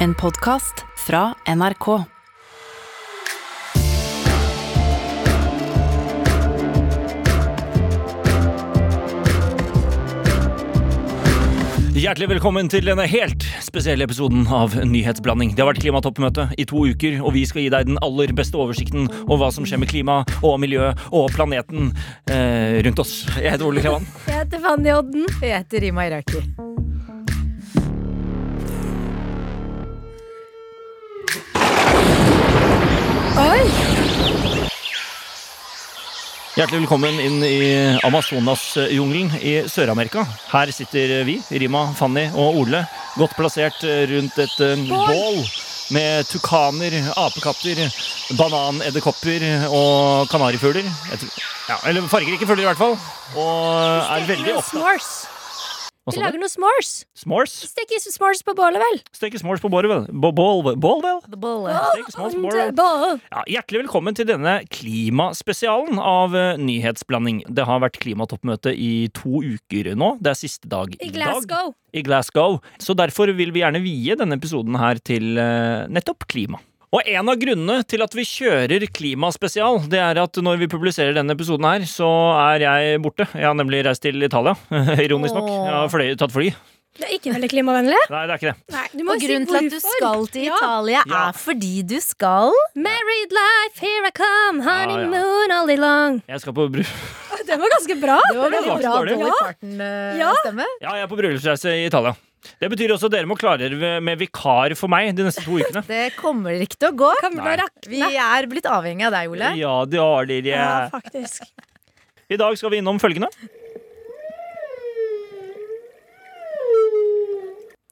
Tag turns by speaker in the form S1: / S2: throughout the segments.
S1: En podkast fra NRK.
S2: Hjertelig velkommen til denne helt spesielle episoden av Nyhetsblanding. Det har vært klimatoppmøte i to uker, og vi skal gi deg den aller beste oversikten over hva som skjer med klima og miljø og planeten eh, rundt oss. Jeg heter Ole Klevan.
S3: Jeg heter Fanny Odden. Og jeg heter Rima Iraki. Oi!
S2: Hjertelig velkommen inn i Amazonas-jungelen i Sør-Amerika. Her sitter vi, Rima, Fanny og Ole, godt plassert rundt et eh, bål med tukaner, apekatter, bananedderkopper og kanarifugler. Jeg tror- Ja, eller fargerike fugler, i hvert fall. Og er veldig opptatt Sånn,
S3: S'mores.
S2: Hva
S3: Vi
S2: sa du?
S3: lager noe s'mores.
S2: S'mores?
S3: Stek ikke s'mores på bålet, vel?
S2: Steke s'mores på bålet, vel? Bå- Bål, vel? bål, vel? Steke s'mores på bålet.
S3: Bål.
S2: Ja, hjertelig velkommen til denne klimaspesialen av eh, Nyhetsblanding. Det har vært klimatoppmøte i to uker nå. Det er siste dag i,
S3: I
S2: dag.
S3: Glasgow.
S2: I Glasgow. Så derfor vil vi gjerne vie denne episoden her til eh, nettopp klima. Og en av grunnene til at vi kjører klimaspesial, det er at når vi publiserer denne episoden her, så er jeg borte. Jeg har nemlig reist til Italia, ironisk nok. Jeg har fløy, tatt fly.
S3: Det er ikke veldig klimavennlig.
S2: Nei, det er ikke det.
S3: Nei, du
S4: Og
S3: jo
S4: grunnen til at du skal til
S3: Ja.
S4: Italia,
S2: Ja.
S4: er fordi du skal
S3: Married life, here I come, honeymoon
S2: Ah,
S3: all day long.
S2: Jeg skal på bru...
S3: Den var ganske bra.
S4: Det var eh,
S2: veldig
S4: veldig
S2: bra
S4: bra
S2: dårlig.
S4: Dolly
S2: Dolly
S3: Ja.
S4: Parton-stemme.
S2: Ja, jeg er på bryllupsreise i Italia. Det betyr også at dere må klare dere med vikar for meg de neste to ukene.
S4: Det kommer ikke til å gå.
S3: Kommer til å
S2: Nei.
S3: rakne.
S4: Vi er blitt avhengig av deg, Ole.
S2: Ja, det har dere.
S3: Ja, faktisk.
S2: I dag skal vi innom følgende.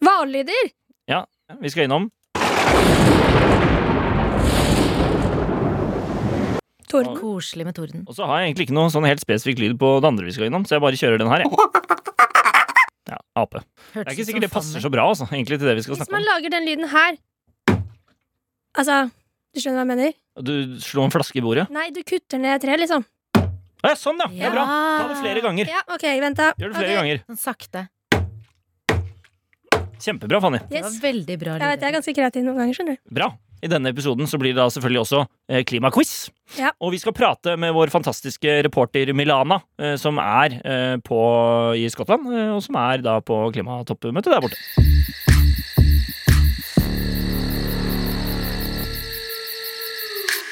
S3: Hvallyder.
S2: Ja, vi skal innom
S3: Torden.
S4: Koselig med torden.
S2: Og så har jeg egentlig ikke noe sånn helt spesifikk lyd på det andre vi skal innom, så jeg bare kjører den her, jeg. Ja, ape. Det er ikke sikkert det passer så bra, altså, egentlig, til det vi skal
S3: Hvis
S2: snakke
S3: man
S2: om.
S3: lager den lyden her Altså, du skjønner hva jeg mener?
S2: Du slo en flaske i bordet.
S3: Nei, du kutter ned treet, liksom.
S2: Ja, sånn, ja. Det er bra. Ta det flere ganger.
S3: Ja, OK, vent, da.
S2: Gjør det flere
S3: Ok,
S2: ganger.
S4: Sånn sakte.
S2: Kjempebra, Fanny.
S4: Det var
S3: Yes.
S4: veldig bra.
S3: Jeg vet jeg er ganske kreativ noen ganger, skjønner du.
S2: Bra. I denne episoden så blir det da selvfølgelig også eh, klimaquiz.
S3: Ja.
S2: Og vi skal prate med vår fantastiske reporter Milana, eh, som er eh, på, i Skottland, eh, og som er da på klimatoppmøtet der borte.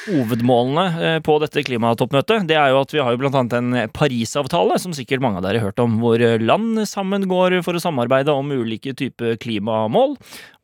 S2: Hovedmålene eh, på dette klimatoppmøtet det er jo at vi har jo blant annet en Parisavtale, som sikkert mange av dere har hørt om, hvor land sammen går for å samarbeide om ulike typer klimamål.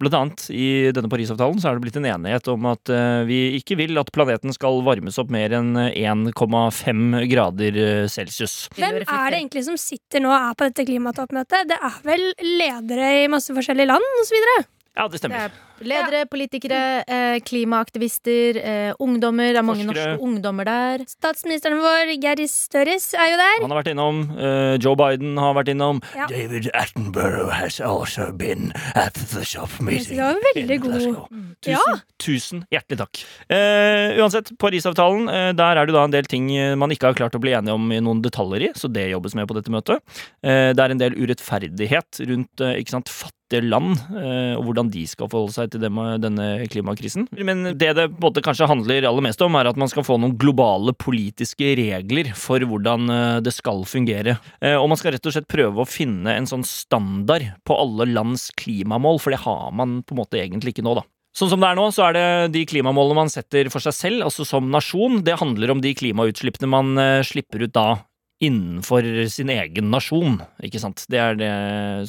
S2: Blant annet i denne Parisavtalen så er det blitt en enighet om at eh, vi ikke vil at planeten skal varmes opp mer enn eh, 1,5 grader eh, celsius.
S3: Hvem er det egentlig som sitter nå og er på dette klimatoppmøtet? Det er vel ledere i masse forskjellige land osv.?
S2: Ja, det
S4: Det
S2: stemmer.
S4: er ledere, politikere, eh, klimaaktivister, eh, ungdommer. Det er mange
S2: Forskere.
S4: norske ungdommer der.
S3: Statsministeren vår, Geir Støres, er jo der.
S2: Han har vært innom. eh, Joe Biden har vært innom.
S3: Ja.
S2: David Attenborough has also been at the shop
S3: Jeg synes det var en veldig god Mm.
S2: Tusen, tusen hjertelig takk. Eh, uansett, Parisavtalen, eh, der er det da en del ting eh, man ikke har klart å bli enige om i noen detaljer i, så det jobbes med på dette møtet. Eh, det er en del urettferdighet rundt eh, ikke sant, fattige land, eh, og hvordan de skal forholde seg til dem, eh, denne klimakrisen. Men det det på en måte kanskje handler aller mest om, er at man skal få noen globale politiske regler for hvordan eh, det skal fungere. Eh, Og man skal rett og slett prøve å finne en sånn standard på alle lands klimamål, for det har man på en måte egentlig ikke nå, da. Sånn som det er nå, så er det de klimamålene man setter for seg selv, altså som nasjon, det handler om de klimautslippene man eh, slipper ut da innenfor sin egen nasjon, ikke sant. Det er det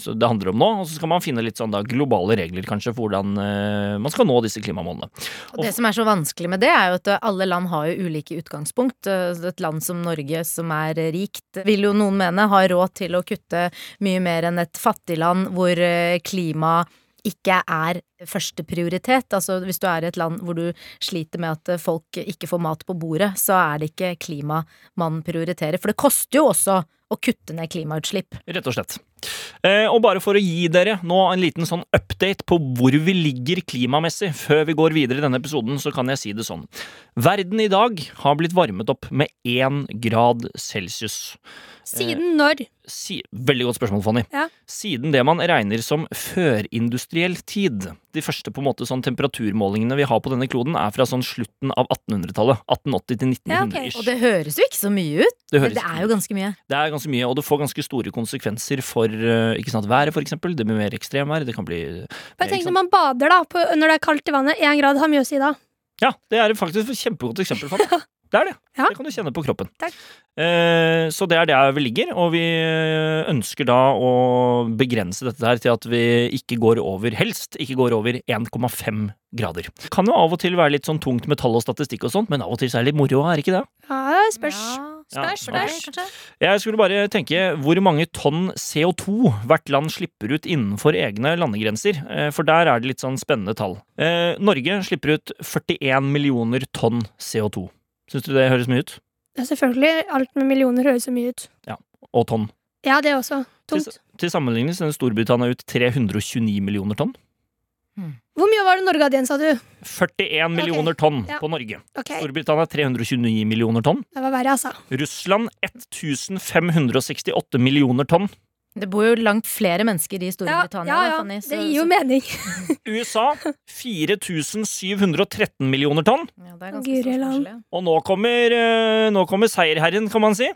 S2: så det handler om nå, og så skal man finne litt sånn da globale regler kanskje for hvordan eh, man skal nå disse klimamålene.
S4: Og det som er så vanskelig med det, er jo at eh, alle land har jo ulike utgangspunkt. Eh, Et land som Norge, som er rikt, vil jo noen mene har råd til å kutte mye mer enn et fattig land hvor eh, klima ikke er førsteprioritet. Altså hvis du er i et land hvor du sliter med at eh, folk ikke får mat på bordet, så er det ikke klima man prioriterer. For det koster jo også å kutte ned klimautslipp.
S2: Rett og slett. Eh, og bare for å gi dere nå en liten sånn update på hvor vi ligger klimamessig før vi går videre i denne episoden, så kan jeg si det sånn. Verden i dag har blitt varmet opp med én grad celsius.
S3: Siden når?
S2: Si, veldig godt spørsmål, Fanny.
S3: Ja.
S2: Siden det man regner som førindustriell tid. de første på en måte sånn temperaturmålingene vi har på denne kloden, er fra sånn slutten av 1800-tallet. 1880 til 1900
S3: Ja, ok.
S2: ish.
S4: Og det høres jo ikke så mye ut,
S2: Det
S4: men
S2: høres
S4: det
S2: ikke
S4: er jo ganske mye.
S2: det er ganske mye, og det får ganske store konsekvenser for eh, ikke sant, været, for eksempel. Det blir mer ekstremvær, det kan bli eh,
S3: Bare
S2: ikke
S3: tenk
S2: sant.
S3: når man bader, da, på, når det er kaldt i vannet. Én grad har mye å si da.
S2: Ja, det er faktisk et kjempegodt eksempel. Fanny. Det er det.
S3: Ja.
S2: Det kan du kjenne på kroppen.
S3: Takk.
S2: Eh, så det er der vi ligger, og vi eh, ønsker da å begrense dette her til at vi ikke går over, helst ikke går over 1,5 grader. Kan jo av og til være litt sånn tungt med tall og statistikk og sånt, men av og til så er det litt moro, er det ikke det?
S3: Ja, spørs.
S2: Spørs,
S4: Ja,
S2: spørs.
S4: kanskje.
S2: Jeg skulle bare tenke hvor mange tonn CO2 hvert land slipper ut innenfor egne landegrenser, eh, for der er det litt sånn spennende tall. Eh, Norge slipper ut 41 millioner tonn CO2. Syns du det høres mye ut?
S3: Ja, selvfølgelig. Alt med millioner høres så mye ut.
S2: Og tonn.
S3: Ja, det også. Tungt.
S2: Til sammenligning sender Storbritannia ut 329 millioner tonn.
S3: Hvor mye var det Norge hadde igjen, sa du?
S2: 41 millioner tonn
S3: Ja.
S2: på Norge.
S3: Ok,
S2: Storbritannia 329 millioner tonn.
S3: det var verre, altså.
S2: Russland 1568 millioner tonn.
S4: Det bor jo langt flere mennesker i Storbritannia.
S3: ja, ja,
S4: da, Fanny, så-
S3: det gir jo
S4: så-
S3: mening.
S2: USA 4713 millioner tonn.
S4: Ja, det er ganske
S3: Guri
S4: stor
S3: land.
S4: forskjell, ja.
S2: Og nå kommer, eh, nå kommer seierherren, kan man si.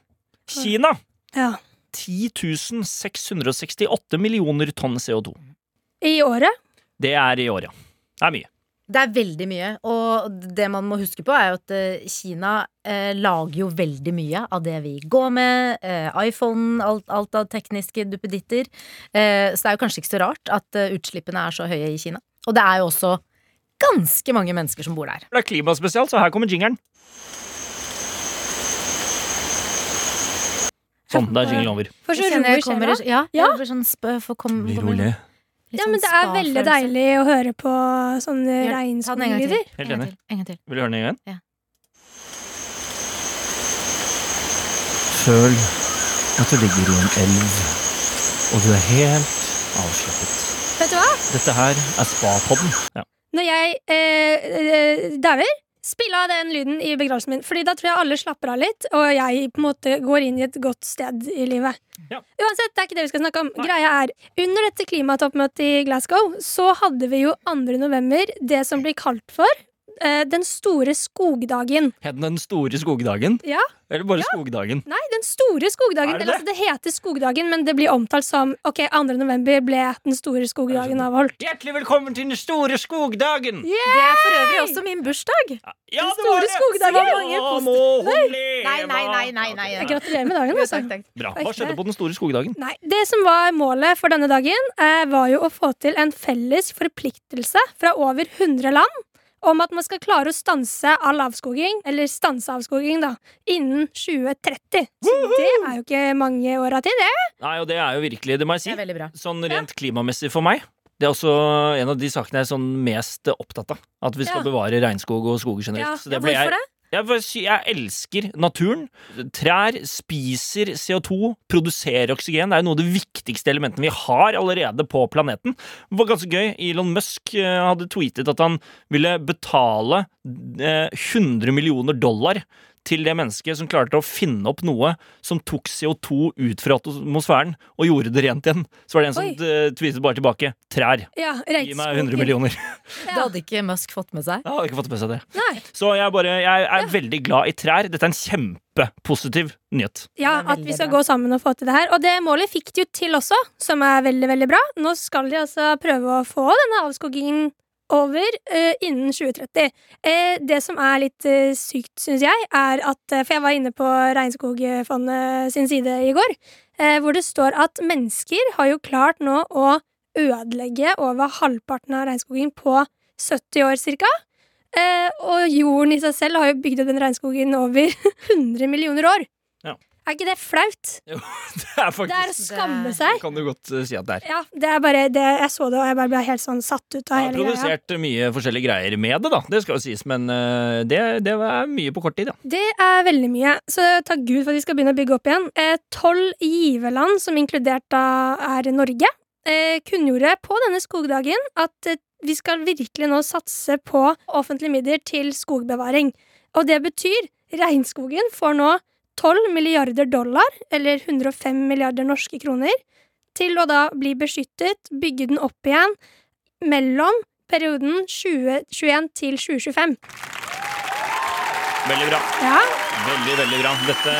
S2: Kina.
S3: Ja.
S2: 10 668 millioner tonn CO2.
S3: I året?
S2: Det er i året, ja. Det er mye.
S4: Det er veldig mye, og det man må huske på, er jo at eh, Kina eh, lager jo veldig mye av det vi går med. Eh, iPhone, alt, alt av tekniske duppeditter. Eh, så det er jo kanskje ikke så rart at eh, utslippene er så høye i Kina. Og det er jo også ganske mange mennesker som bor der.
S2: Det er klimaspesial, så her kommer jingeren. Sånn, da er jingelen over.
S3: For så
S4: Jeg kjenner jeg
S3: roer sjela.
S4: kommer i- Ja,
S3: Ja.
S4: jeg blir sånn sp for
S2: Mm.
S4: kom, kommer sånn- litt
S3: Ja,
S4: sånn
S3: men det er
S4: spa-følelse.
S3: veldig deilig å høre på sånne
S4: Gjør- Ta den en gang til.
S3: regnskoglyder.
S2: Helt
S4: En gang
S2: enig.
S4: til. En gang til.
S2: Vil du høre den igjen?
S4: Ja.
S2: Føl at du ligger i en elv, og du er helt avslappet.
S3: Vet du hva?
S2: Dette her er spa-podden. Ja.
S3: Når jeg eh, eh, dauer, spill av den lyden i begravelsen min. Fordi da tror jeg alle slapper av litt, og jeg på en måte går inn i et godt sted i livet.
S2: Ja.
S3: Uansett, det er ikke det vi skal snakke om.
S2: Nei.
S3: Greia er, Under dette klimatoppmøtet i Glasgow så hadde vi jo 2. november det som blir kalt for eh, den store skogdagen.
S2: Het den Den store skogdagen?
S3: Ja.
S2: Eller bare skogdagen?
S3: Nei, den store skogdagen.
S2: Er det
S3: Eller, altså, det heter skogdagen, men det blir omtalt som Ok, 2. november ble den store skogdagen
S2: sånn?
S3: avholdt.
S2: Hjertelig velkommen til Den store skogdagen!
S4: Det er for øvrig også min bursdag.
S2: Ja,
S3: Den store
S2: Så
S3: skogdagen!
S2: mange
S3: Å,
S2: må hun leve!
S4: Nei, nei, nei, nei, nei.
S3: Jeg gratulerer med dagen. altså.
S2: Bra. Hva skjedde på Den store skogdagen?
S3: Nei, Det som var målet for denne dagen, eh, var jo å få til en felles forpliktelse fra over 100 land om at man skal klare å stanse all avskoging, eller stanse avskoging, da, innen 2030. Så det er jo ikke mange åra til, det.
S2: Nei, og det er jo virkelig, det må jeg
S4: Det
S2: si.
S4: er veldig bra.
S2: Sånn rent klimamessig for meg. Det er også en av de sakene jeg er sånn mest opptatt av. At vi skal
S3: Ja.
S2: bevare regnskog og skoger generelt.
S3: Ja,
S2: Så det
S3: ja,
S2: ble
S3: hvorfor
S2: jeg, Jeg, bare sier- jeg elsker naturen. Trær spiser CO2, produserer oksygen. Det er jo noe av det viktigste elementene vi har allerede på planeten. Det var ganske gøy. Elon Musk eh, hadde tweetet at han ville betale eh, 100 millioner dollar til det mennesket som klarte å finne opp noe som tok CO2 ut fra atmosfæren og gjorde det rent igjen. Så var det en som
S3: Oi.
S2: eh, tweetet bare tilbake. Trær.
S3: Ja,
S2: Gi meg 100
S3: regnskogen.
S2: millioner.
S4: Det hadde ikke Musk fått med seg.
S2: Jeg hadde ikke fått med seg det.
S3: Nei.
S2: Så jeg, bare, jeg er veldig glad i trær. Dette er en kjempepositiv nyhet.
S4: Det er
S3: Ja, at
S4: veldig
S3: vi skal
S4: bra.
S3: gå sammen og få til det her. Og det målet fikk de jo til også, som er veldig, veldig bra. Nå skal de altså prøve å få denne avskogingen over eh, innen 2030. Eh, det som er litt eh, sykt, syns jeg, er at eh, For jeg var inne på Regnskogfondet sin side i går, eh, hvor det står at mennesker har jo klart nå å ødelegge over halvparten av regnskogen på 70 år cirka. Eh, og jorden i seg selv har jo bygd opp den regnskogen over 100 millioner år.
S2: Ja.
S3: Er ikke det flaut?
S2: Det er
S3: Det er å
S2: faktisk
S3: skamme
S4: det-
S2: det
S3: seg.
S2: kan du godt eh, si at det er.
S3: Ja, det er bare det Jeg så det, og jeg bare ble helt sånn satt ut av
S2: Jeg har
S3: hele greia.
S2: produsert mye forskjellige greier med det, da. Det skal jo sies, men eh, det, det er mye på kort tid, ja.
S3: Det er veldig mye, så takk Gud for at vi skal begynne å bygge opp igjen. Eh, Tolv giverland, som inkludert da er Norge, eh, kunngjorde på denne skogdagen at eh, vi skal virkelig nå satse på offentlige midler til skogbevaring. Og det betyr regnskogen får nå 12 milliarder dollar, eller 105 milliarder norske kroner, til å da bli beskyttet, bygge den opp igjen, mellom perioden 2021 til 2025.
S2: Veldig bra.
S3: Ja.
S2: Veldig, veldig bra. Dette,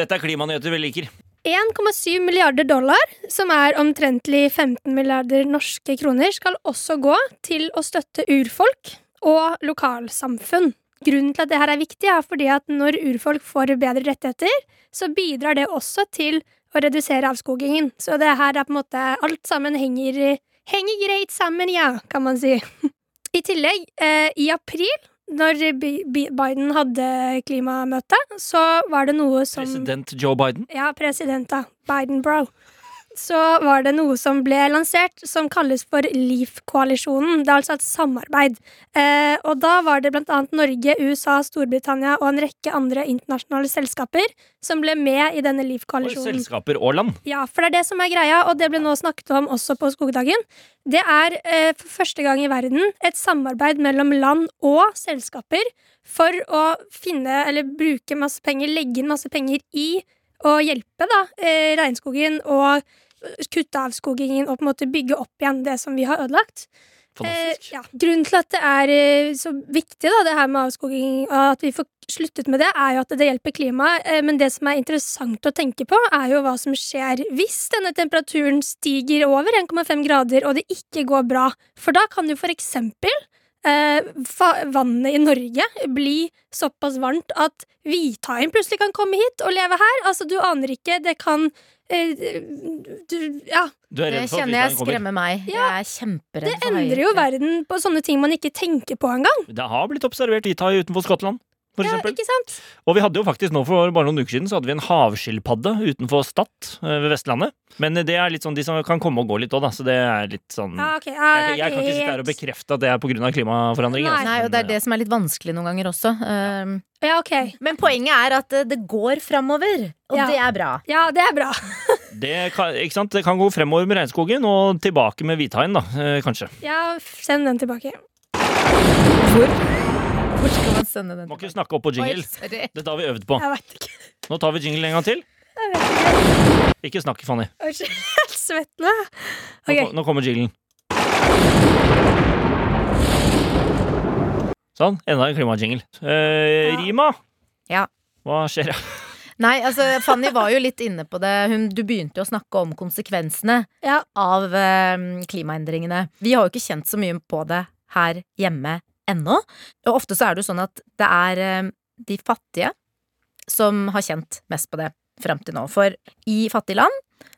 S2: dette er klimanyheter vi liker.
S3: 1,7 milliarder dollar, som er omtrentlig 15 milliarder norske kroner, skal også gå til å støtte urfolk og lokalsamfunn. Grunnen til at det her er viktig, er fordi at når urfolk får bedre rettigheter, så bidrar det også til å redusere avskogingen. Så det her er på en måte Alt sammen henger, henger greit sammen, ja, kan man si. I tillegg, eh, i april, når Bi- Bi- Biden hadde klimamøte, så var det noe som
S2: President Joe Biden.
S3: ja, president da, Biden bro. Så var det noe som ble lansert som kalles for LEAF-koalisjonen. Det er altså et samarbeid. Eh, og da var det blant annet Norge, USA, Storbritannia og en rekke andre internasjonale selskaper som ble med i denne
S2: Og
S3: LEAF-koalisjonen.
S2: selskaper og land.
S3: Ja, for det er det som er greia, og det ble nå snakket om også på Skogdagen. Det er eh, for første gang i verden et samarbeid mellom land og selskaper for å finne, eller bruke masse penger, legge inn masse penger i å hjelpe da, eh, regnskogen og kutte avskogingen og på en måte bygge opp igjen det som vi har ødelagt.
S2: Fantastisk.
S3: Eh, ja. Grunnen til at det er eh, så viktig da, det her med avskoging, og at vi får sluttet med det, er jo at det hjelper klimaet. Eh, men det som er interessant å tenke på, er jo hva som skjer hvis denne temperaturen stiger over 1,5 grader og det ikke går bra. For da kan jo for eksempel eh, fa- vannet i Norge bli såpass varmt at hvithaien plutselig kan komme hit og leve her. Altså, du aner ikke. Det kan eh, du, Ja.
S2: Du er
S4: Det
S2: redd for at
S4: kjenner jeg
S2: hvithaien kommer.
S4: skremmer meg. Jeg er kjemperedd
S3: Det endrer jo verden på sånne ting man ikke tenker på engang.
S2: Det har blitt observert hvithai utenfor Skottland. For
S3: Ja,
S2: eksempel.
S3: ikke sant?
S2: og vi hadde jo faktisk nå for bare noen uker siden Så hadde vi en havskilpadde utenfor Stad eh, ved Vestlandet. Men det er litt sånn de som kan komme og gå litt òg, da. Så det er litt sånn
S3: Ja, ok. Ja,
S2: Jeg, jeg kan ikke sitte her og
S3: helt-
S2: bekrefte at det er pga. klimaforandringer.
S3: Nei.
S2: altså,
S4: Nei, og
S2: men,
S4: det er det som er litt vanskelig noen ganger også. Um,
S3: Ja, ok.
S4: Men poenget er at eh, det går framover, og
S3: Ja.
S4: det er bra.
S3: Ja, det er bra.
S2: Det kan, ikke sant? det kan gå fremover med regnskogen og tilbake med hvithaien, da, eh, kanskje.
S3: Ja, f- send den tilbake.
S4: Hvor skal man sende den?
S2: Må ikke snakke opp på jingle.
S4: Oi, sorry.
S2: Dette har vi øvd på.
S3: Jeg vet ikke.
S2: Nå tar vi jingle en gang til. Ikke snakk, Fanny. Nå,
S3: Jeg er helt svett nå.
S2: ko-
S3: Ok.
S2: nå kommer jinglen. Sånn. Enda en klimajingle. Eh,
S3: Ja.
S2: Rima,
S4: Ja.
S2: hva skjer?
S4: Nei, altså, Fanny var jo litt inne på det. Hun, du begynte jo å snakke om konsekvensene
S3: Ja.
S4: av eh, klimaendringene. Vi har jo ikke kjent så mye på det her hjemme ennå. Og ofte så er det jo sånn at det er eh, de fattige som har kjent mest på det fram til nå. For i fattige land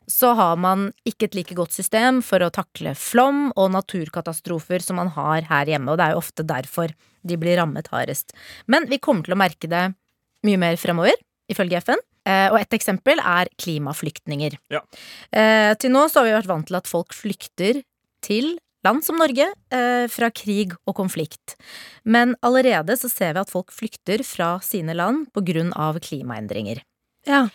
S4: så har man ikke et like godt system for å takle flom og naturkatastrofer som man har her hjemme, og det er jo ofte derfor de blir rammet hardest. Men vi kommer til å merke det mye mer fremover, ifølge FN. Eh, Og et eksempel er klimaflyktninger.
S2: Ja.
S4: Eh, Til nå så har vi vært vant til at folk flykter til land som Norge eh, fra krig og konflikt. Men allerede så ser vi at folk flykter fra sine land på grunn av klimaendringer.
S3: Ja.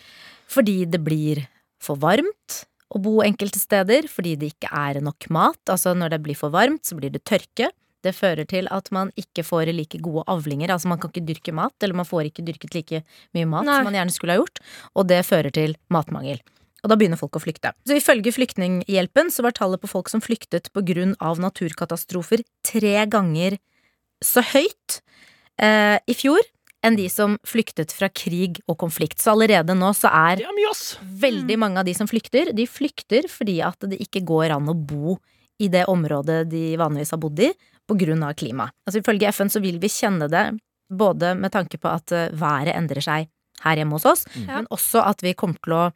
S4: Fordi det blir for varmt å bo enkelte steder, fordi det ikke er nok mat. Altså når det blir for varmt, så blir det tørke. Det fører til at man ikke får like gode avlinger. Altså man kan ikke dyrke mat, eller man får ikke dyrket like mye mat
S3: Nei.
S4: som man gjerne skulle ha gjort. Og det fører til matmangel. Og da begynner folk å flykte. Så Ifølge Flyktninghjelpen så var tallet på folk som flyktet pga. naturkatastrofer tre ganger så høyt eh, i fjor enn de som flyktet fra krig og konflikt. Så allerede nå så er
S2: Det er mye, ass!
S4: Veldig
S2: Mm.
S4: mange av de som flykter, de flykter fordi at det ikke går an å bo i det området de vanligvis har bodd i, på grunn av klima. Altså Ifølge FN så vil vi kjenne det både med tanke på at eh, været endrer seg her hjemme hos oss,
S2: Mm.
S3: Ja.
S4: men også at vi kommer til å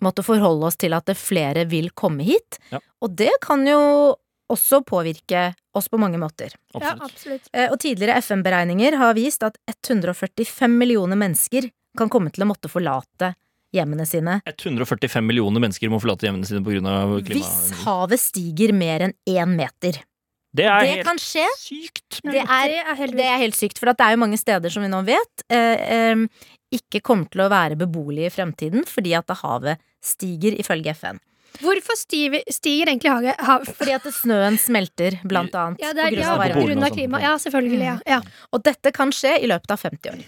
S4: måtte forholde oss til at det flere vil komme hit.
S2: Ja.
S4: Og det kan jo også påvirke oss på mange måter.
S3: Ja,
S2: Absolutt.
S3: absolutt.
S4: Eh, Og tidligere FN-beregninger har vist at 145 millioner mennesker kan komme til å måtte forlate hjemmene sine
S2: 145 millioner mennesker må forlate hjemmene sine pga.
S4: Hvis
S2: klimaendringer.
S4: havet stiger mer enn én meter.
S2: Det er
S4: Det
S2: helt
S4: kan skje.
S2: sykt.
S4: Det er,
S3: det er helt
S4: det er helt sykt, for at det er jo mange steder som vi nå vet eh, em, ikke kommer til å være beboelige i fremtiden fordi at havet stiger, ifølge FN.
S3: Hvorfor stiger, stiger egentlig hage? Ha
S4: Fordi at snøen smelter, blant annet.
S3: ja, det er
S4: på grunn
S3: ja,
S4: av
S3: på
S2: varmen.
S4: varme.
S3: grunn av
S2: På Polen og
S3: klima.
S2: sånn.
S3: Ja, selvfølgelig. Ja. ja.
S4: Og dette kan skje i løpet av 50 år.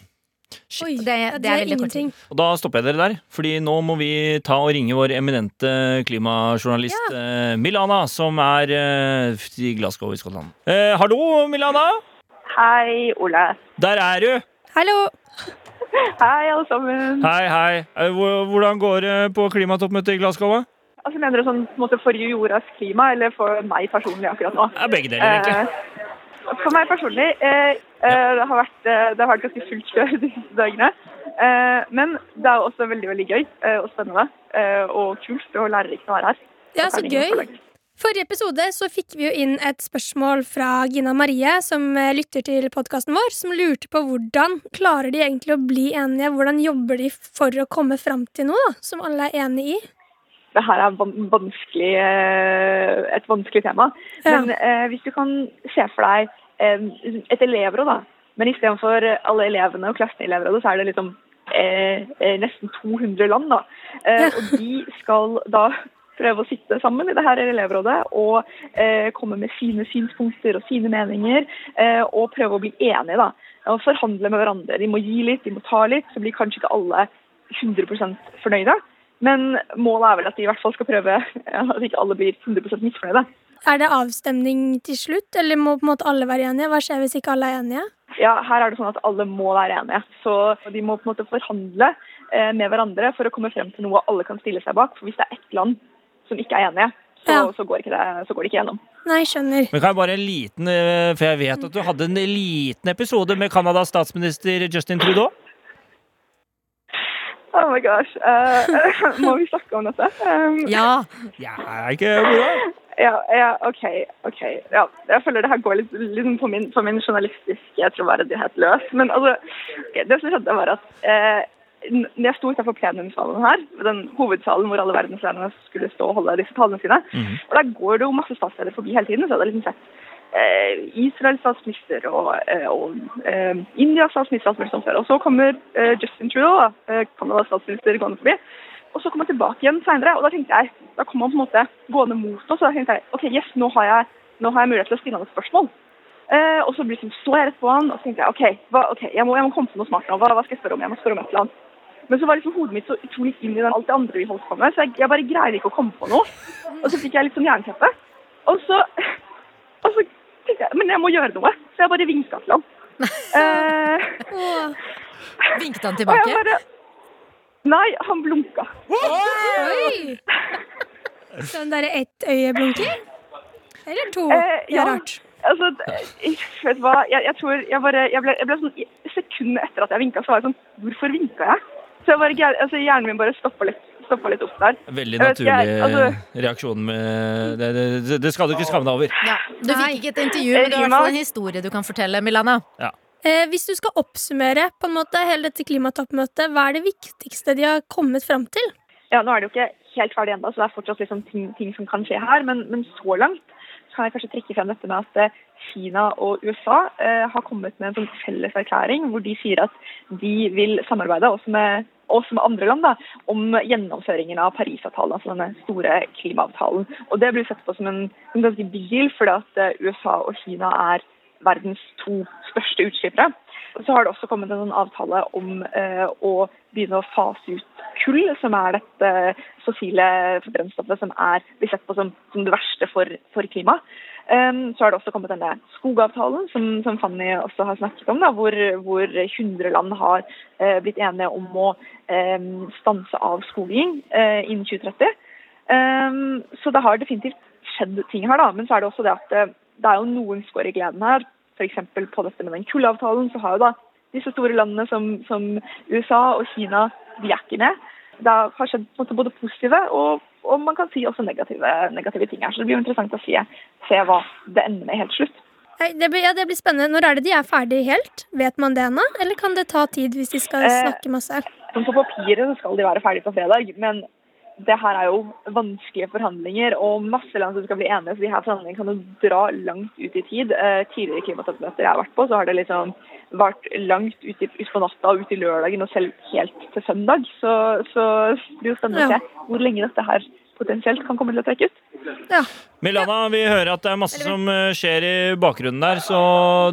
S2: Shit.
S3: Oi,
S4: Det- det er veldig kort tid.
S3: ingenting.
S2: Og da stopper jeg dere der, fordi nå må vi ta og ringe vår eminente klimajournalist eh, Milana, som er eh, i Glasgow i Skottland. Eh, hallo, Milana!
S5: Hei, Ole.
S2: Der er du!
S3: Hallo!
S5: Hei, alle sammen.
S2: Hei, hei. Eh, hvor- Hvordan går det på klimatoppmøtet i Glasgow? da?
S5: Altså, mener du sånn på en måte for jordas klima, eller for meg personlig akkurat nå?
S2: Ja, begge deler, egentlig.
S5: Eh, for meg personlig, eh, eh, det, har vært, eh, det har vært ganske fullt kjør de siste dagene. Eh, men det er jo også veldig, veldig gøy eh, og spennende eh, og kult og lærerikt å være her.
S3: Ja,
S5: Da
S3: så
S5: kan ingen
S3: gøy.
S5: klage.
S3: Forrige episode så fikk vi jo inn et spørsmål fra Gina Marie, som eh, lytter til podkasten vår, som lurte på hvordan klarer de egentlig å bli enige? Hvordan jobber de for å komme fram til noe da, som alle er enig i?
S5: det her er van vanskelig, eh, et vanskelig tema.
S3: Ja.
S5: Men eh, hvis du kan se for deg eh, et elevråd, da. Men istedenfor alle elevene og klassen i elevrådet, så er det liksom eh, eh, nesten 200 land, da. Eh,
S3: Ja.
S5: Og de skal da prøve å sitte sammen i det her elevrådet og eh, komme med sine synspunkter og sine meninger, eh, og prøve å bli enige, da. Og forhandle med hverandre. De må gi litt, de må ta litt. Så blir kanskje ikke alle 100 fornøyde. Men målet er vel at de i hvert fall skal prøve at ikke alle blir 100 misfornøyde.
S3: Er det avstemning til slutt, eller må på en måte alle være enige? Hva skjer hvis ikke alle er enige?
S5: Ja, her er det sånn at alle må være enige. Så de må på en måte forhandle eh, med hverandre for å komme frem til noe alle kan stille seg bak. For hvis det er ett land som ikke er enige, så,
S3: Ja.
S5: så, går, ikke det, så går det ikke gjennom.
S3: Nei, skjønner.
S2: Men kan jeg bare en liten, eh, for jeg vet at du hadde en liten episode med Canadas statsminister Justin Trudeau.
S5: Oh my gosh. Eh, må vi snakke om dette? Um,
S4: Ja.
S2: Ja, er ikke moro?
S5: ja, ja, OK. ok. Ja, jeg føler det her går litt, liksom på, min, på min journalistiske troverdighet løs. Men altså, ok, det som skjedde, var at eh, n- når jeg sto utenfor plenumssalen her, den hovedsalen hvor alle verdenslederne skulle stå og holde disse talene sine,
S2: Mhm.
S5: og der går det jo masse statsledere forbi hele tiden, så jeg hadde liksom sett eh, Israels statsminister og, eh, og eh, Indias statsminister, statsminister som før. Og så kommer eh, Justin Trudeau, da, eh, Canadas statsminister, gående forbi. Og så kom han tilbake igjen senere, og da tenkte jeg, da kom han på en måte gående mot oss. Og da tenkte jeg ok, yes, nå har jeg, nå har jeg mulighet til å stille han et spørsmål. Eh, og så blir liksom, så jeg rett på han, og så tenkte jeg ok, hva, ok, jeg, må, jeg må komme på noe smart nå. Hva, hva skal jeg spørre om? Jeg må spørre om et eller annet. Men så var liksom hodet mitt så utrolig inn i den, alt det andre vi holdt på med, så jeg, jeg bare greier ikke å komme på noe. Og så fikk jeg litt sånn jernteppe. Og så, og så tenkte jeg men jeg må gjøre noe, så jeg bare vinka til han. Eh,
S3: Åh,
S4: Vinket han
S5: og jeg
S4: tilbake?
S5: bare Nei, han blunka.
S3: oi! Sånn derre ettøyeblinker? Eller to?
S5: Eh,
S3: Det
S5: ja.
S3: er rart.
S5: Altså, jeg, vet du hva, jeg, jeg tror jeg bare Jeg ble, jeg ble sånn Sekundet etter at jeg vinka, så var jeg sånn Hvorfor vinka jeg? Så jeg bare, greide- altså, hjernen min bare stoppa litt, stoppa litt opp der.
S2: Veldig
S5: Jeg vet ikke,
S2: naturlig
S5: jeg- altså-
S2: reaksjon. Med, det, det- det, det skal du ikke skamme deg over.
S4: Ja. Du fikk
S3: Nei.
S4: ikke et intervju, men du har i hvert
S5: Rima.
S4: fall en historie du kan fortelle, Milana.
S3: Eh, hvis du skal oppsummere på en måte hele dette klimatoppmøtet, hva er det viktigste de har kommet fram til?
S5: Ja, nå er det jo ikke helt ferdig ennå, så det er fortsatt liksom ting, ting som kan skje her. Men, men så langt så kan jeg kanskje trekke frem dette med at eh, Kina og USA eh, har kommet med en sånn felles erklæring hvor de sier at de vil samarbeide også med, også med andre land da, om gjennomføringen av Parisavtalen, altså denne store klimaavtalen. Og det blir sett på som en, en ganske big deal, fordi at eh, USA og Kina er verdens to største utslippere. Og så har det også kommet en sånn avtale om eh, å begynne å fase ut kull, som er dette eh, fossile brennstoffet som er, blir sett på som, som det verste for, for klimaet. Em, så har det også kommet denne skogavtalen, som, som Fanny også har snakket om, da, hvor, hvor 100 land har eh, blitt enige om å em, stanse av skoging eh, innen 2030. Em, Ehm, så det har definitivt skjedd ting her, da. Men så er det også det at eh, det er jo noen skår i gleden her. F.eks. på dette med den kullavtalen, så har jo da disse store landene som, som USA og Kina, de er ikke med. Det har skjedd på en måte både positive og, og man kan si også negative, negative ting her. Så det blir jo interessant å se, se hva det ender med helt til slutt.
S3: Nei, Det blir, ja, det blir spennende. Når er det de er ferdig helt? Vet man det ennå? Eller kan det ta tid hvis de skal
S5: Eh,
S3: snakke masse?
S5: Sånn på papiret så skal de være ferdige på fredag, men det her er jo vanskelige forhandlinger og masse land som skal bli enige, så de her forhandlingene kan jo dra langt ut i tid. Eh, tidligere klimatoppmøter jeg har vært på, så har det liksom vært langt ut, i, ut på natta og ut i lørdagen og selv helt til søndag. Så, så det blir jo spennende å se hvor lenge dette her potensielt kan komme til å trekke ut.
S2: Milana, vi hører at det er masse som eh, skjer i bakgrunnen der, så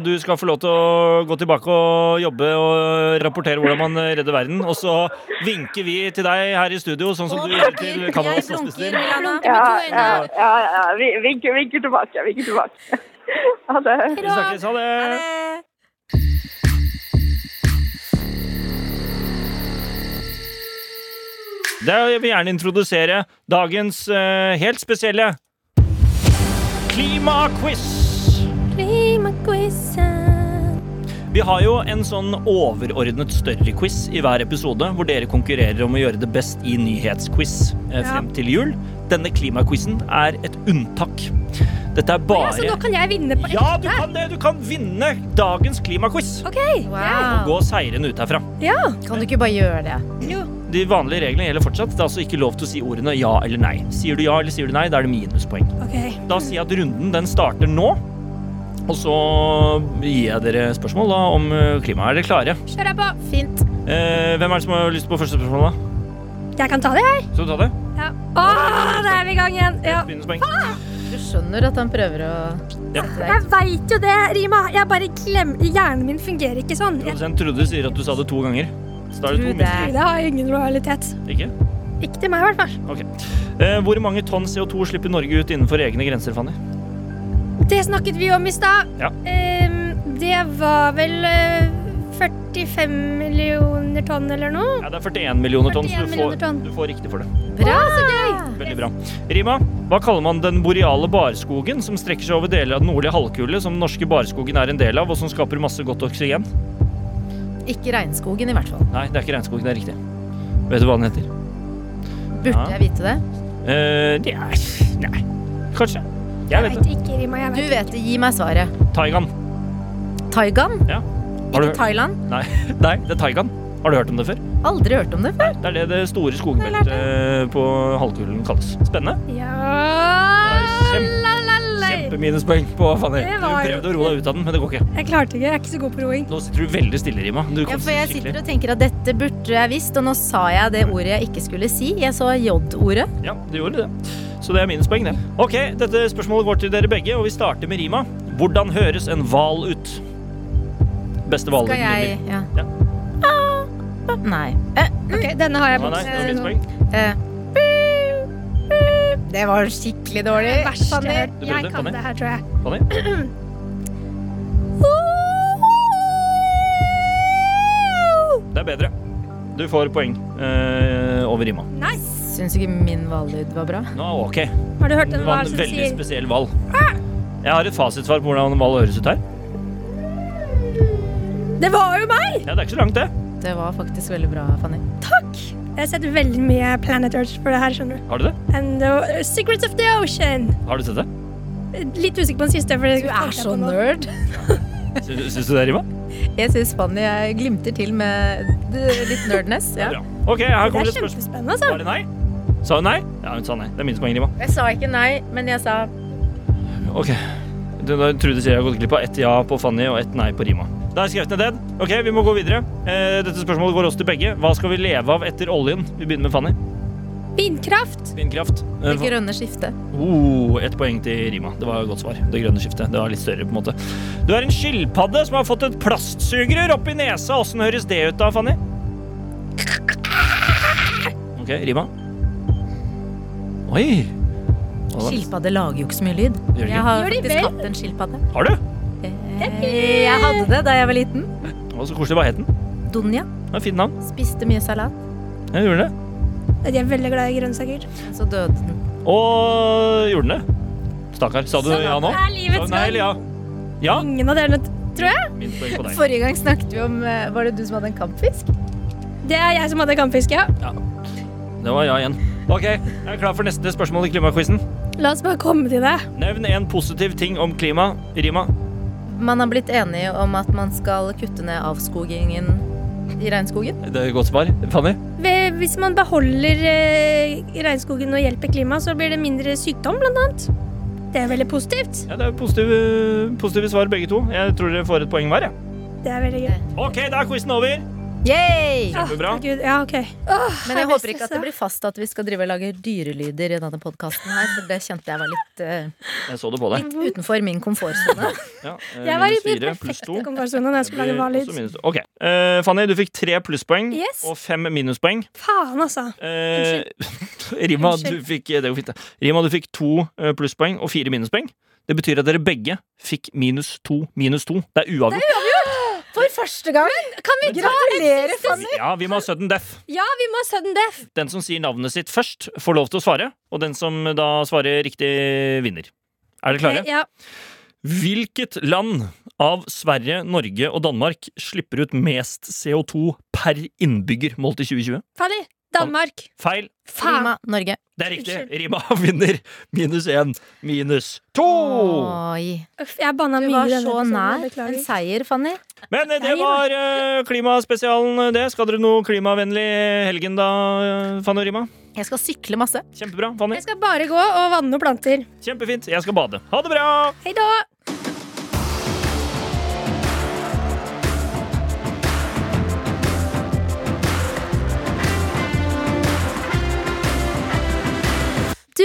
S2: du skal få lov til å gå tilbake og jobbe og rapportere hvordan man eh, redder verden. Og så vinker vi til deg her i studio, sånn som du gjør til
S4: Jeg
S2: Kanadas
S4: blunker,
S2: statsminister.
S4: Milana.
S5: Ja, ja, ja, ja. Vi vinker, vinker tilbake. Vinker tilbake. Ha det.
S2: Vi snakkes, ha det! Da vil vi gjerne introdusere dagens eh, helt spesielle klimaquiz.
S3: Klimaquizen.
S2: Vi har jo en sånn overordnet større quiz i hver episode, hvor dere konkurrerer om å gjøre det best i nyhetsquiz eh,
S3: Ja.
S2: frem til jul. Denne klimaquizen er et unntak. Dette er
S3: Ja, så nå
S2: bare
S3: kan jeg vinne på
S2: Ja, du kan det! Du kan vinne dagens klimaquiz!
S3: OK.
S4: Wow.
S2: Gå seirende ut herfra.
S3: Ja.
S4: Kan du ikke bare gjøre det?
S3: Jo.
S2: De vanlige reglene gjelder fortsatt. Det er altså ikke lov til å si ordene ja eller nei. Sier du ja eller sier du nei, da er det minuspoeng.
S3: OK.
S2: Da sier jeg at runden den starter nå. Og så gir jeg dere spørsmål da om eh, klima. Er dere klare?
S3: Kjør deg på.
S4: Fint.
S2: Eh, hvem er det som har lyst på første spørsmål? da?
S3: Jeg kan ta det, jeg.
S2: Skal du ta det?
S3: Ja. Å, da er vi i gang igjen. Ja.
S2: Minuspoeng.
S4: Du skjønner at han prøver å
S2: Ja.
S4: sette deg
S3: Jeg veit jo det, Rima. Jeg bare glemmer Hjernen min fungerer ikke sånn. Jeg
S2: Produsent Trude sier at du sa det to ganger. Så da er det to
S4: Trude.
S2: minus.
S3: tror det har ingen lojalitet.
S2: Ikke?
S3: Ikke til meg, i hvert fall.
S2: Ok. Eh, hvor mange tonn CO2 slipper Norge ut innenfor egne grenser, Fanny?
S3: Det snakket vi om i stad.
S2: Ja.
S3: Ehm, det var vel eh, 45 millioner tonn eller noe.
S2: Ja, det er 41 millioner tonn, så
S3: 41
S2: du
S3: millioner
S2: får,
S3: tonn. Ah,
S2: du får riktig for det.
S4: Bra!
S2: Veldig bra. Rima, hva kaller man den boreale barskogen som strekker seg over deler av den nordlige halvkule, som den norske barskogen er en del av, og som skaper masse godt oksygen?
S4: Ikke regnskogen, i hvert fall.
S2: Nei, det er ikke regnskog, det er riktig. Vet du hva den heter?
S4: Burde
S2: Ja.
S4: jeg vite det?
S2: Eh, det er Nei, kanskje. Jeg vet
S3: Jeg
S2: det.
S3: vet ikke, Rima. Jeg
S4: Du
S3: vet.
S4: vet det. Gi meg svaret.
S2: Taigan.
S4: Taigan?
S2: Ja. Har du
S4: Ikke Thailand?
S2: Nei, nei, det er Taigan. Har du hørt om det før?
S4: Aldri hørt om det før.
S2: Det er det det store skogbeltet eh, på halvkulen kalles. Spennende.
S3: Ja
S2: Det er kjempe-
S3: la, la, la.
S2: Kjempeminuspoeng på Fanny.
S3: Det
S2: Du
S3: var jo-
S2: prøvde å roe deg ut av den, men det går ikke.
S3: Jeg klarte ikke. Jeg er ikke så god på roing.
S2: Nå sitter du veldig stille, Rima. Du
S4: Ja,
S2: kom
S4: for jeg
S2: skikkelig-
S4: sitter og tenker at dette burde jeg visst, og nå sa jeg det ordet jeg ikke skulle si. Jeg så J-ordet.
S2: Ja, det gjorde det. Så det er minuspoeng, det. Ok, dette spørsmålet går til dere begge, og vi starter med Rima. Hvordan høres en hval ut? Beste hvalen
S4: Skal jeg Ja.
S2: Ja.
S4: Ah, Nei. Eh,
S3: Ok, Denne har jeg
S2: Nei, nei, det var
S3: på.
S2: minuspoeng.
S4: eh. Det var skikkelig dårlig.
S3: Det verste jeg
S4: Fanny.
S3: har hørt.
S2: Du prøvde,
S3: Jeg kan
S2: Fanny.
S3: det her, tror jeg.
S2: Fanny? Det er bedre. Du får poeng eh, over Rima.
S3: Nice!
S4: Syns ikke min vallyd var bra.
S2: Nå, ok.
S3: Har du hørt
S2: Det
S3: en
S2: var
S3: hval
S2: en
S3: som
S2: veldig
S3: sier Ah!
S2: spesiell hval. Jeg har et fasitsvar på hvordan en hval høres ut her.
S3: Det var jo meg!
S2: Ja, det er ikke så langt, det.
S4: Det var faktisk veldig bra, Fanny.
S3: Jeg har sett veldig mye Planet Earth for det her, skjønner du.
S2: Har du det?
S3: And the uh, Secrets of the Ocean.
S2: Har du sett det?
S3: Litt usikker på den siste. For
S4: Du er så nerd.
S2: Sy- Syns du det, Rima?
S4: Jeg syns Fanny jeg glimter til med d- litt nerdness.
S2: Det er
S4: Ja.
S2: Bra. Ok, her
S3: Det
S2: kommer det
S3: er
S2: et spørsmål.
S3: kjempespennende,
S2: Var
S3: altså.
S2: det nei? Sa hun nei? Ja, hun sa nei. Det er minuspoeng, Rima.
S4: Jeg sa ikke nei, men jeg sa
S2: Ok. Det da Trude sier jeg har gått glipp av ett ja på Fanny og ett nei på Rima. Da er skrevet ned den. Ok, vi må gå videre. Eh, dette spørsmålet går også til begge. Hva skal vi leve av etter oljen? Vi begynner med Fanny.
S3: Vindkraft.
S2: Vindkraft. Eh,
S4: det grønne skiftet.
S2: Oh, ett poeng til Rima. Det var et godt svar. Det grønne skiftet. Det var litt større, på en måte. Du er en skilpadde som har fått et plastsugerør oppi nesa. Åssen høres det ut da, Fanny? OK, Rima. Oi! Hva da?
S4: Skilpadde lager jo ikke så mye lyd.
S2: de ikke?
S4: Jeg har
S3: Gjør de
S4: faktisk
S3: vel?
S4: hatt en skilpadde.
S2: Har du?
S4: Eh, Jeg hadde det da jeg var liten.
S2: Å, så koselig. Hva het den?
S4: Donja.
S2: Det var et Fint navn.
S4: Spiste mye salat.
S2: Ja, gjorde den det?
S3: De er veldig glad i grønnsaker.
S4: Så døde den.
S2: Og gjorde den det? Stakkar. Sa du
S4: Sa
S2: ja nå?
S3: Det er
S2: Sa
S3: livets
S2: du nei
S3: gang.
S2: eller ja? Ja?
S3: Ingen av delene, tror jeg.
S2: Min poeng på deg.
S4: Forrige gang snakket vi om eh, Var det du som hadde en kampfisk?
S3: Det er jeg som hadde kampfiske. Ja.
S2: Det var ja igjen. OK, jeg er klar for neste spørsmål i klimaquizen.
S3: La oss bare komme til det.
S2: Nevn en positiv ting om klima. Rima.
S4: Man har blitt enige om at man skal kutte ned avskogingen i regnskogen.
S2: Det er et godt svar. Fanny?
S3: Ved- Hvis man beholder eh, regnskogen og hjelper klimaet, så blir det mindre sykdom, blant annet. Det er veldig positivt.
S2: Ja, det er positive, positive svar begge to. Jeg tror dere får et poeng hver. Ja.
S3: Det er veldig gøy.
S2: Ok, da er quizen over.
S4: Yay!
S2: Kjempebra.
S3: Å, Gud, ja, ok. Åh,
S4: Men jeg
S3: blir
S4: håper ikke at
S3: stressa.
S4: Ah, det blir fast at vi skal drive og lage dyrelyder i denne podkasten her, for det kjente jeg var litt eh,
S2: Jeg så det på deg.
S4: utenfor min komfortsone.
S2: Ja, eh,
S3: Jeg var i
S2: minus
S3: min
S2: fire pluss
S3: perfekte
S2: to.
S3: komfortsone da jeg skulle
S2: Det
S3: lage
S2: blir
S3: valid.
S2: også minus to. Ok, Eh, Fanny, du fikk tre plusspoeng
S3: Yes.
S2: og fem minuspoeng.
S3: Faen, altså.
S2: Eh, Rima, du
S3: Unnskyld.
S2: fikk, eh, det går fint, det. Rima, du fikk to eh, plusspoeng og fire minuspoeng. Det betyr at dere begge fikk minus to minus to. Det er uavgjort.
S4: For første gang!
S3: Kan vi dra
S4: Gratulerer, Fanny!
S2: Ja, vi må ha sudden death.
S3: Ja, vi må ha sudden death!
S2: Den som sier navnet sitt først, får lov til å svare. Og den som da svarer riktig, vinner. Er dere klare?
S3: Eh, Ja.
S2: Hvilket land av Sverige, Norge og Danmark slipper ut mest CO2 per innbygger målt i 2020?
S3: Fanny. Danmark.
S2: Feil.
S3: Faen.
S4: Klima Norge.
S2: Det er riktig.
S3: Unnskyld.
S2: Rima vinner. Minus én. Minus to.
S4: Oi.
S3: Uff, jeg banna
S4: Du
S3: mye.
S4: var
S3: i denne
S4: så
S3: episoden,
S4: nær
S3: jeg beklager.
S4: en seier, Fanny.
S2: Men eh, det var eh, klimaspesialen, eh, det. Skal dere noe klimavennlig i helgen da, eh, Fanny og Rima?
S4: Jeg skal sykle masse.
S2: Kjempebra, Fanny.
S3: Jeg skal bare gå og vanne noen planter.
S2: Kjempefint. Jeg skal bade. Ha det bra!
S3: Hei da! Du